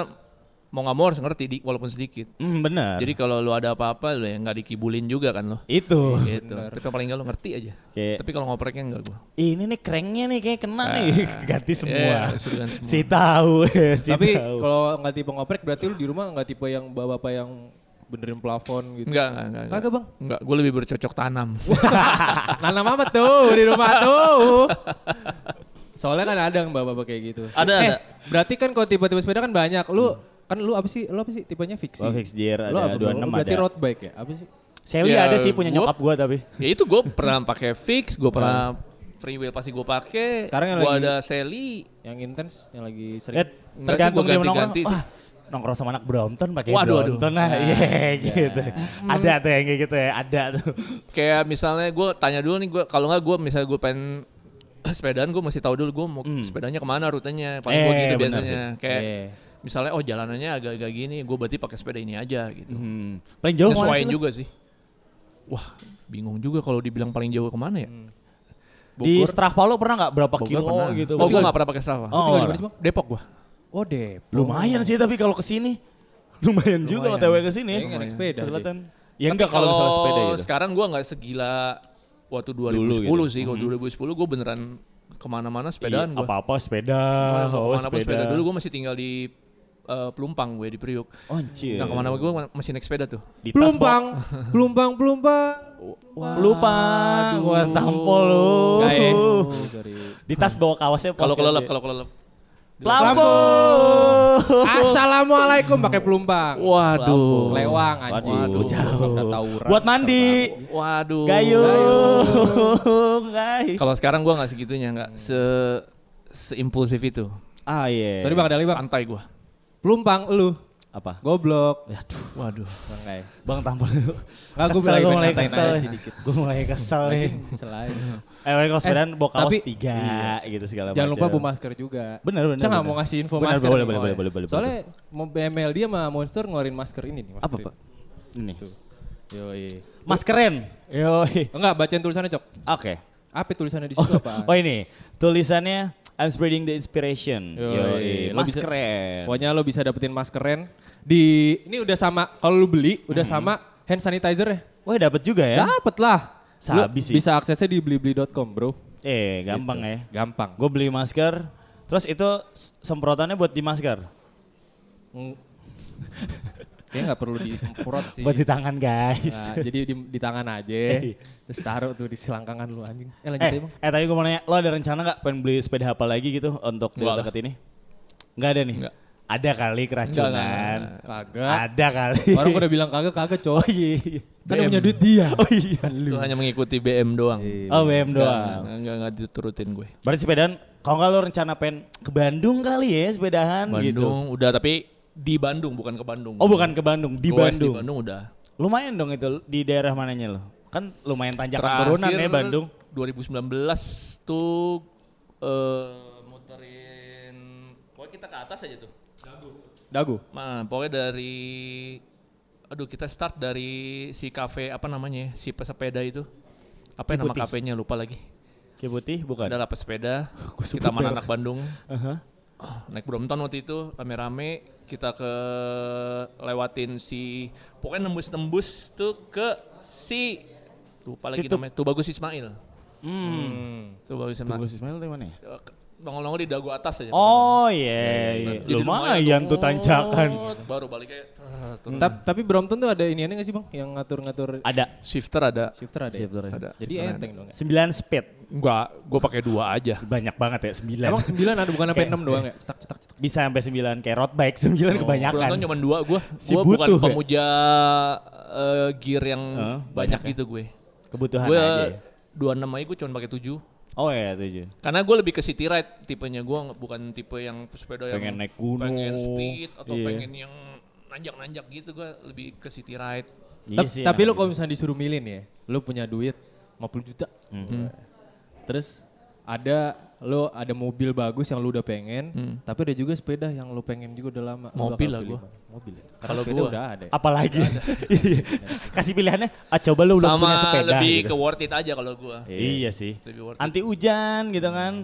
F: mau nggak mau harus ngerti di, walaupun sedikit.
E: Hmm, bener.
F: Jadi kalau lu ada apa-apa, lu ya nggak dikibulin juga kan lo.
E: itu.
F: Gitu. Tapi paling nggak lu ngerti aja.
E: Oke.
F: Tapi kalau ngopreknya enggak gue.
E: Ih, Ini nih krengnya nih kayak kena nih. (laughs) Ganti
F: iya,
E: semua.
F: suruh ganti semua.
E: si tahu, (laughs) si
D: Tapi
E: tahu.
D: kalau nggak tipe ngoprek berarti lu di rumah nggak tipe yang bapak-bapak yang benerin plafon gitu.
F: Enggak, enggak, enggak.
D: Kagak, Bang?
F: Enggak, gue lebih bercocok tanam.
D: Nanam apa tuh di rumah tuh? Soalnya kan ada yang bapak-bapak kayak gitu.
F: Ada,
D: Eh,
F: ada.
D: Berarti kan kalau tipe-tipe sepeda kan banyak. Lu kan lu apa sih? Lu apa sih tipenya fiksi?
E: Gua fixed Oh, gear,
D: Lu
E: ada
D: apa, Bang?
E: 26
D: Lu Berarti
E: ada.
D: road bike ya? Apa sih?
E: Sally
F: Ya,
E: ada sih punya
F: gua-
E: nyokap gue tapi.
F: ya itu gue pernah pakai fix, gue pernah free wheel pasti gue pakai.
D: Sekarang yang
F: Gue
D: lagi-
F: ada Sally.
D: Yang intens, yang lagi sering.
E: Eh,
F: sih,
E: tergantung
F: gua
E: dia nongkrong.
F: ganti-ganti sih.
E: Wah, nongkrong sama anak Brompton pakai
F: Waduh, Ah. Hmm. aduh.
E: Brompton nah, iya (laughs) gitu. Ada tuh yang kayak gitu ya, ada tuh.
F: Kayak misalnya gue tanya dulu nih gue kalau nggak gue misalnya gue pengen (coughs) sepedaan gue masih tahu dulu gue mau sepedanya kemana rutenya paling gue
E: Hmm. Eh,
F: gitu
E: benar
F: biasanya
E: sih. Iya.
F: kayak
D: Eh.
F: misalnya oh jalanannya agak-agak gini gue berarti pakai sepeda ini aja gitu
E: Hmm. Paling jauh kemana sih
F: Nyesuaiin
E: lu?
F: juga sih wah bingung juga kalau dibilang paling jauh kemana ya
E: Di Strava lo pernah nggak berapa
F: Bogor
E: kilo
F: pernah.
E: gitu?
F: oh gue nggak pernah pakai Strava
E: Oh,
D: Tinggal di
E: orang.
D: mana sih, Bang?
F: Depok gue
E: Eh.
D: Oh, dep.
E: Lumayan sih tapi kalau kesini lumayan juga
D: Lumayan.
E: OTW kesini ya.
D: Kayaknya naik sepeda
E: Ke
D: deh.
E: selatan. Ya enggak kalau misalnya sepeda gitu.
F: sekarang gue nggak segila waktu 2010
E: Dulu gitu.
F: sih kalau 2010 gue beneran kemana-mana sepedaan gue
E: Iya, Apa-apa sepeda, oh,
F: kan kemana
E: sepeda.
F: pun sepeda dulu gue masih tinggal di eh, Pelumpang gue di Priuk
E: Anjir.
F: nah kemana
E: iya.
F: gue masih naik sepeda tuh
E: Di tas
D: Pelumpang, (laughs) pelumpang, pelumpang.
E: bawa- Pelumpang. Gua tampol lu.
D: Nggak ya? Oh, sorry.
E: Di tas bawa kawasnya
F: kalau
E: pos-
F: kelelep kalau kelelep
E: Lampung.
D: Assalamualaikum pakai pelumpang.
F: waduh
D: Lewang anjing.
E: Waduh, jauh.
D: Nggak tawuran.
E: Buat mandi.
F: waduh
E: Gayung, guys.
F: kalau sekarang gue nggak segitunya
E: Hmm.
F: nggak se seimpulsif itu
E: ah iya.
D: Sorry Bang, ada lagi, Bang.
F: santai gue
D: Pelumpang lu.
E: Apa?
D: Goblok.
E: Aduh,
F: waduh
D: Bangkai.
E: Bang tampol lu.
D: Nggak, gua
E: Kesel,
D: mulai-
E: gua mulai
D: ngatain
E: kesel.
D: aja sedikit.
E: Gue mulai kesel nih.
D: Selain.
E: Eh, mereka kalau sepedaan bawa kaos
D: tapi-
E: tiga gitu segala macam.
D: Jangan lupa bawa masker juga.
E: Bener, bener,
D: Saya nggak
E: bener.
D: mau ngasih info
E: Bener,
D: masker.
E: boleh,
D: nih.
E: boleh,
D: Oh,
E: boleh,
D: iya.
E: boleh, boleh.
D: Soalnya mau BML dia sama Monster ngeluarin masker ini nih.
E: Apa, Pak? Gitu. Ini.
D: Yoi. Oh,
E: Maskerin. Yoi.
D: Enggak, bacain tulisannya, Cok.
E: Oke.
D: Apa tulisannya di
E: Oh,
D: situ apaan?
E: oh ini tulisannya I'm spreading the inspiration. Yoi.
D: Yoi, lo bisa-
E: Maskeren.
D: Pokoknya lo bisa dapetin maskeren di ini udah sama kalau lo beli udah
E: Hmm.
D: sama hand sanitizer ya.
E: Wah dapet juga ya.
D: Dapet lah. Lo
E: Sabi sih.
D: Bisa aksesnya di blibli.com, Bro.
E: Eh gampang ya.
D: Gampang.
E: Gue beli masker. Terus itu s- semprotannya buat di masker.
D: Mm. (laughs) Kayaknya nggak perlu disemprot sih.
E: Buat di tangan guys.
D: Nah, jadi di, di tangan aja. terus taruh tuh di selangkangan lu anjing. Eh lanjut
E: eh,
D: aja, Bang.
E: eh tadi gue mau nanya, lo ada rencana nggak pengen beli sepeda apa lagi gitu untuk di
F: Nggak lah.
E: deket ini? Nggak ada nih.
F: Nggak.
E: Ada kali keracunan.
F: Nggak, nggak, nggak,
D: Kagak.
E: Ada kali.
D: Orang gua udah bilang kagak kagak
E: Oh
D: cowok.
E: (laughs) iya.
D: Kan yang punya duit dia.
E: Oh iya.
F: itu hanya mengikuti BM doang
E: Oh BM
F: Nggak,
E: doang.
F: nggak nggak nggak diturutin gue
E: Berarti sepedaan, kalau nggak lo rencana pengen ke Bandung kali ya sepedahan gitu.
F: Bandung udah tapi di Bandung bukan ke Bandung.
E: Oh bukan ke Bandung, di
F: Goes
E: Bandung.
F: Di Bandung udah.
E: Lumayan dong itu di daerah mananya lo? Kan lumayan tanjakan turunan
F: kan.
E: ya Bandung.
F: 2019 tuh eh muterin pokoknya kita ke atas aja tuh.
D: Dagu.
F: Nah, pokoknya dari aduh kita start dari si kafe apa namanya ya, si pesepeda itu. Apa ya nama
E: Ciputi.
F: kafenya lupa lagi.
E: Kayak putih bukan?
F: Ada lah pesepeda.
E: (laughs) Gua sebut
F: kita mana
E: merek.
F: anak Bandung.
E: Aha.
F: naik Brompton waktu itu rame-rame kita ke lewatin si pokoknya nembus-nembus tuh ke si lupa lagi
E: Situ.
F: namanya tuh bagus Ismail
E: Hmm.
F: tuh bagus Ismail
E: Bagus Ismail di mana ya?
F: nongol-nongol di dagu atas aja
E: Oh iya, iya.
F: Jadi
E: lumayan tuh tanjakan.
F: tot, baru baliknya ter- turun.
D: Ta- tapi Brompton tuh ada iniannya nggak sih bang? Yang ngatur-ngatur
E: Hmm. Ada
F: shifter ada
D: shifter ada. ya?
E: Shifter ada.
F: Iya, ada
D: Jadi enteng dong. ya?
E: 9 speed.
F: enggak gua pakai dua aja
E: Banyak banget ya 9.
D: Emang sembilan ada bukan sampai enam doang ya? Cetak cetak cetak.
E: bisa sampai 9 kayak road bike 9
F: Oh,
E: kebanyakan.
F: Brompton cuma dua gua
E: Ya kan? Si
F: gua bukan
E: butuh ya?
F: pemuja eh, gear yang
E: Heeh,
F: banyak gitu gue
E: Kebutuhan
F: gue
E: ya? aja.
F: 26
E: ya.
F: aja gue cuma pakai 7
E: Oh, Oh iya tujuh.
F: Karena gue lebih ke city ride tipenya gue bukan tipe yang sepeda yang
E: Pengen naik gunung.
F: pengen speed atau
E: Iya.
F: pengen yang nanjak-nanjak gitu gue lebih ke city ride.
E: Iya
D: Tap-
E: sih,
D: tapi
E: enak
D: lu kalau misalnya disuruh milih nih ya, lu punya duit 50 juta. Nah, Terus ada lu ada mobil bagus yang lu udah pengen, tapi ada juga sepeda yang lu pengen juga udah lama. Lu
F: Mobil
D: bakal
F: lah
D: pilih
F: gua.
D: mana? Mobil ya. Karena
F: Kalau
D: sepeda
F: gua.
D: udah ada. Ya.
E: Apalagi Iya. (laughs) kasih pilihannya, ah coba lu udah
F: Sama
E: punya sepeda.
F: lebih
E: gitu.
F: ke worth it aja kalau gue.
E: Iya sih.
F: Lebih worth it.
E: Anti hujan gitu kan.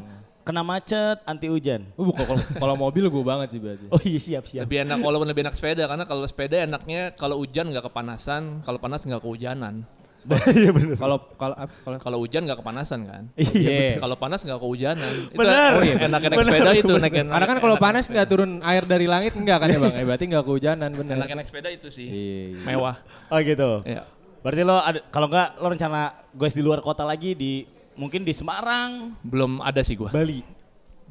E: Kena macet, anti hujan.
D: Oh, bukan, kalau, kalau mobil gue banget sih berarti.
E: (laughs) Oh iya siap (laughs) siap.
F: Lebih enak walaupun lebih enak sepeda karena kalau sepeda enaknya kalau hujan nggak kepanasan, kalau panas nggak kehujanan.
E: Iya bener.
D: Kalau kalau ap- kalau
F: Kalau hujan nggak kepanasan kan.
D: Iya.
F: Kalau panas nggak kehujanan. Itu
E: Bener.
F: oh iya, enak-enak
E: Bener,
F: sepeda itu.
E: bener.
F: Enak -enak,
D: Karena kan kalau panas nggak turun air dari langit enggak kan ya Bang? Ya, berarti enggak kehujanan bener.
F: Enak-enak sepeda itu sih.
D: Iya, iya.
F: Mewah.
E: Oh gitu.
F: Iya.
E: Berarti lo ada, kalau enggak lo rencana guys di luar kota lagi di mungkin di Semarang,
F: Belum ada sih gue.
E: Bali.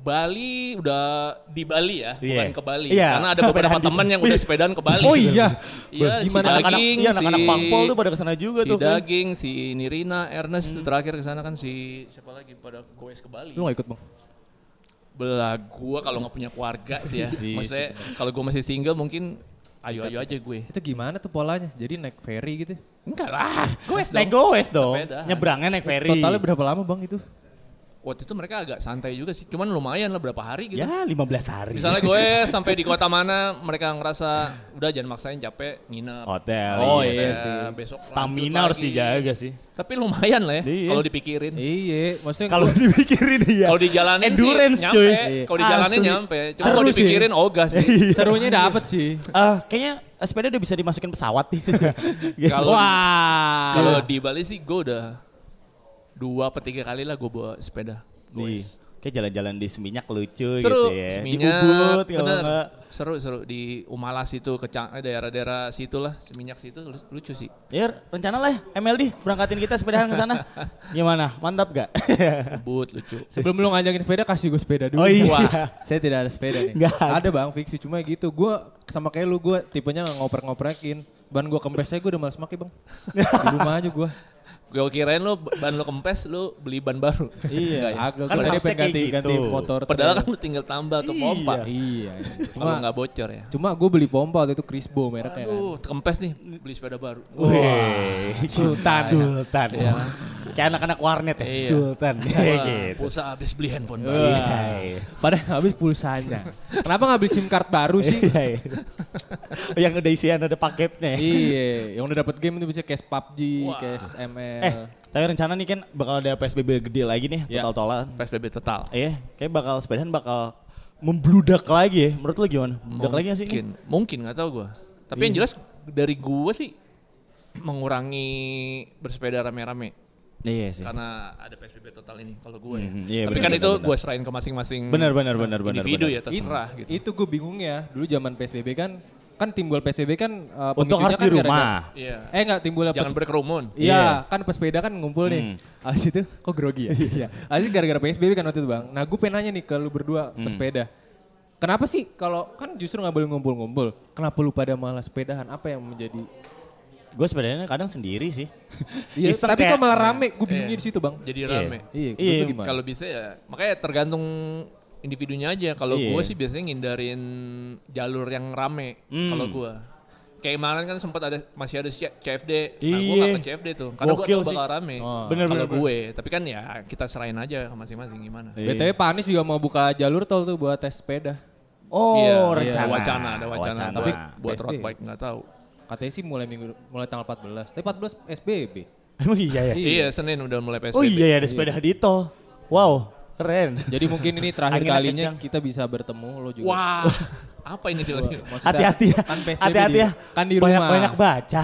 F: Bali udah di Bali ya, bukan
E: Iya.
F: ke Bali.
E: Iya,
F: Karena ada beberapa
E: sepedaan di-
F: teman yang udah sepedaan ke Bali.
D: Oh iya.
F: Iya, si
D: Gimana
E: anak-anak-
F: daging,
E: iya, anak-anak
F: si-
E: Pangpol tuh pada kesana juga
F: si
E: tuh kan.
F: daging, si Nirina, Ernest itu terakhir ke sana kan si siapa lagi pada goes ke Bali.
D: Lu nggak ikut Bang?
F: Belah gua kalau nggak punya keluarga sih ya. Maksudnya kalau gua masih single mungkin ayo-ayo aja gue.
D: Itu gimana tuh polanya? Jadi naik ferry gitu.
F: Enggak lah, goes dong.
E: Naik goes dong.
F: Sepedaan.
E: Nyebrangnya naik ferry.
D: Totalnya berapa lama Bang itu?
F: Waktu itu mereka agak santai juga sih, cuman lumayan lah berapa hari gitu.
E: Ya 15 hari.
F: Misalnya gue (laughs) sampai di kota mana mereka ngerasa udah jangan maksain capek nginep.
E: hotel.
D: Oh,
F: Saya
D: iya
E: iya.
D: sih.
F: Besok lanjut
E: Stamina harus
F: lagi.
E: dijaga sih.
F: Tapi lumayan lah ya
E: Iya.
F: kalau dipikirin.
D: Iya, maksudnya
E: Kalau dipikirin iya.
F: Kalau dijalanin
E: Endurance,
F: sih
E: cuy.
F: nyampe. Kalau dijalanin
E: Asli.
F: nyampe. Cuma
D: Seru
F: kalau
D: sih.
F: dipikirin ogah
E: Iya.
F: sih.
D: serunya dapet sih.
E: Ah, kayaknya eh, sepeda udah bisa dimasukin pesawat nih.
F: (laughs) Kalau-
E: Wah. Iya.
F: Kalau di Bali sih gue udah dua atau tiga kali lah gue bawa sepeda.
E: Di,
F: Goes.
E: kayak jalan-jalan di Seminyak lucu
F: Seru,
E: gitu ya.
F: Seminyak,
E: di Ubud kalau
F: bener.
E: enggak.
F: Seru, seru. Di Umalas itu, ke Cang- eh, daerah-daerah situ lah, Seminyak situ lu- lucu sih.
E: Ya rencana lah ya, MLD berangkatin kita sepedahan ke
F: (laughs)
E: sana. Gimana? Mantap gak?
F: Ubud lucu.
D: Sebelum lu ngajakin sepeda kasih gue sepeda dulu.
E: Oh iya.
D: Wah, saya tidak ada sepeda nih.
E: Nggak ada.
D: ada bang, fiksi cuma gitu. Gue sama kayak lu, gue tipenya ngoprek-ngoprekin. Ban gue kempes aja gue udah males pake bang. Di rumah aja gue.
F: Gue kirain lu ban lu kempes, lu beli ban baru. Enggak ya?
D: agak. Gue
E: Kan
D: tadi
E: harusnya
D: pengen
E: kayak
D: ganti,
E: gitu.
D: ganti motor.
F: Padahal kan
D: ternyata.
F: lu tinggal tambah ke
E: Iya.
F: pompa.
D: Iya.
F: Kalau
D: Cuma,
F: nggak bocor ya.
D: cuma gue beli pompa waktu itu Crisbo
E: ya.
D: mereknya kan.
F: Aduh, kempes nih beli sepeda baru.
E: Wih.
D: Sultan.
E: Sultan. Iya. Kayak anak-anak warnet ya.
F: Iya.
E: Sultan. (laughs) Kayak
F: Wah,
E: gitu.
F: pulsa habis beli handphone baru.
E: Iya,
D: Wah.
E: iya.
D: Padahal habis pulsanya. Kenapa nggak beli SIM card baru
E: (laughs)
D: sih?
E: Iya, iya. Yang udah isian ada paketnya ya.
D: iya, yang udah dapat game itu bisa cash PUBG,
F: Wah.
D: cash ML.
E: Eh, tapi rencana nih kan bakal ada PSBB gede lagi nih,
D: Iya.
E: total-totalan.
F: PSBB total.
E: Iya, kayak bakal sepedahan bakal membludak lagi ya. Menurut lu gimana? Membludak lagi gak sih? Iya.
F: Mungkin, mungkin nggak tahu gua. Tapi yang jelas dari gua sih mengurangi bersepeda rame-rame
E: Iya sih.
F: karena ada PSBB total ini kalau gua ya.
E: Mhm, iya,
F: Tapi
E: benar,
F: kan
E: benar,
F: itu
E: benar.
F: gua serahin ke masing-masing
E: Benar benar benar benar.
F: individu
E: benar. Iya.
F: ya terserah gitu.
D: Itu gue bingung ya. Dulu zaman PSBB kan kan timbul PSBB kan uh, pemicunya
E: Untuk harus
D: kan
E: di
D: gara-gara-
E: rumah.
F: Iya.
D: Eh enggak timbul
F: Jangan berkerumun.
D: Iya,
E: Iya.
D: kan pesepeda kan ngumpul nih.
E: Hmm.
D: Abis itu kok
E: (laughs)
D: grogi ya? Iya. Abis itu gara-gara PSBB kan waktu itu, Bang. Nah, gue pengen nanya nih ke lu berdua
E: Hmm.
D: pesepeda. Kenapa sih kalau kan justru nggak boleh ngumpul-ngumpul? Kenapa lu pada malah sepedahan? Apa yang menjadi
E: Gue sebenarnya kadang sendiri sih.
D: Iya,
E: Iseng
D: tapi
E: kayak-
D: kok malah rame? Gue bingungnya
F: Iya.
D: di situ, Bang.
F: Jadi
E: Iya.
F: rame.
D: Iya,
E: Iya,
D: iya, gimana?
F: Kalau bisa ya, makanya tergantung individunya aja. Kalau
E: Iya.
F: gua sih biasanya ngindarin jalur yang rame.
E: Hmm.
F: Kalau gua kayak kemarin kan sempat ada masih ada C- CFD. Nah, gua
E: Iya.
F: gak ke CFD tuh karena gua
E: Gokil
F: tahu bakal
E: sih.
F: rame.
E: Oh.
F: Kalau
E: Bener, bener, bener. Iya.
F: gue, tapi kan ya kita serahin aja ke masing-masing gimana.
D: BTW Pak Anies juga mau buka jalur tol tuh buat tes sepeda.
E: Oh,
F: Iya,
E: rencana.
F: Ada wacana, ada wacana. Tapi buat
D: PSB.
F: road bike nggak tahu.
D: Katanya sih mulai minggu mulai tanggal 14. Tapi 14 SBB.
E: (laughs) Emang iya ya?
D: Iya.
F: Iya, Senin udah mulai PSBB.
E: Oh iya ya ada sepeda di tol. Wow, keren.
D: Jadi mungkin ini terakhir
E: Anginnya
D: kalinya
E: kencang.
D: kita bisa bertemu lo juga.
E: (laughs)
F: Wah, apa ini tiba-tiba?
D: Maksudnya,
E: Hati-hati ya.
D: kan PSBB
E: Hati-hati
D: di-
E: ya.
D: Kan di rumah.
E: Banyak-banyak baca.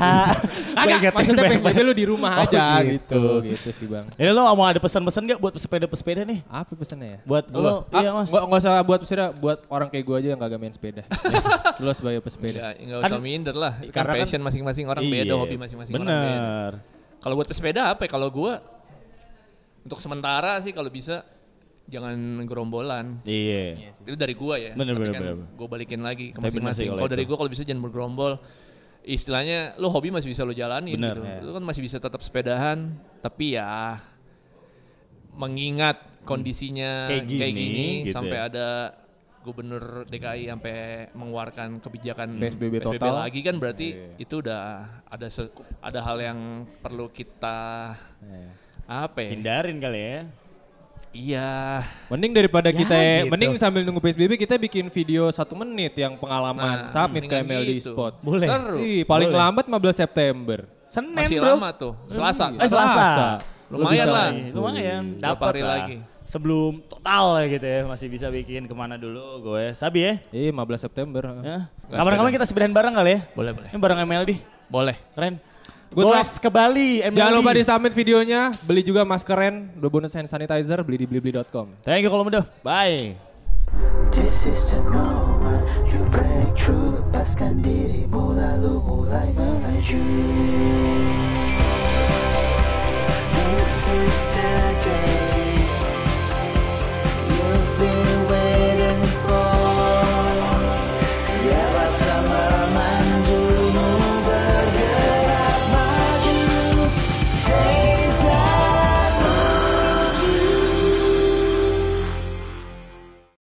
D: Agak,
E: Banyak-
D: maksudnya PSBB
E: banyak-
D: lu di rumah
E: Oh,
D: aja
E: gitu.
D: gitu. Gitu sih bang.
E: Ini lo mau ada pesan-pesan gak buat pesepeda-pesepeda nih?
D: Apa pesannya ya?
E: Buat lo,
D: Ah,
E: iya mas.
D: Nggak, nggak usah buat sepeda, buat orang kayak gue aja yang kagak main
E: (laughs)
D: sepeda. Ya, lo sebagai pesepeda.
F: Nggak nggak usah
E: Kan-
F: minder lah. Kan
E: karena kan-
F: passion masing-masing orang beda,
E: Iya,
F: hobi masing-masing orang beda.
E: Bener.
F: Kalau buat pesepeda apa ya? Kalau gua untuk sementara sih kalau bisa jangan gerombolan.
E: Iya.
F: Itu dari gua ya.
E: Bener,
F: Tapi
E: bener,
F: kan
E: bener, bener.
F: gua balikin lagi ke
E: Tapi bener sih
F: masing-masing.
E: kalau
F: Kalau dari
E: itu.
F: gua kalau bisa jangan bergerombol. Istilahnya lu hobi masih bisa lu jalanin
E: Bener,
F: gitu.
E: ya.
F: Lu kan masih bisa tetap sepedahan, tapi ya mengingat kondisinya
E: Hmm. Kayak
F: kayak
E: gini,
F: gini,
E: gitu
F: sampai
E: ya.
F: ada gubernur DKI sampai mengeluarkan kebijakan
D: PSBB total. Iya,
F: lagi kan berarti itu udah ada se- ada hal yang perlu kita
D: Iya,
F: apa ya?
E: Hindarin kali ya.
F: Iya.
D: Mending daripada
E: Ya,
D: kita,
E: gitu.
D: mending sambil nunggu PSBB kita bikin video satu menit yang
F: Nah,
D: pengalaman submit ke
F: mendingan
D: MLD
F: gitu.
D: Spot.
E: Boleh.
F: Seru.
D: Ih, paling
E: Boleh.
D: lambat 15 September. Senin
F: Masih
D: bro.
F: lama tuh. Selasa.
E: Eh,
F: Selasa.
E: Selasa.
F: Lumayan
E: Bisa
F: lah.
E: lagi. Lumayan.
F: Berapa
E: Dapat
F: hari
E: lah.
F: lagi?
E: Sebelum total ya gitu ya. Masih bisa bikin kemana dulu gue. Sabi ya.
D: Iya 15 September.
E: Ya. Kapan-kapan kita sepedain bareng kali ya.
F: Boleh, boleh.
E: Ini bareng MLD.
F: Boleh.
E: Keren.
D: Gua
E: Goes ke Bali MLD.
D: Jangan lupa di submit videonya, beli juga maskeren, dua bonus hand sanitizer, beli di blibli.com.
E: Thank you kalau udah. Bye.
C: This is the moment you break through Lepaskan dirimu lalu mulai melaju This is the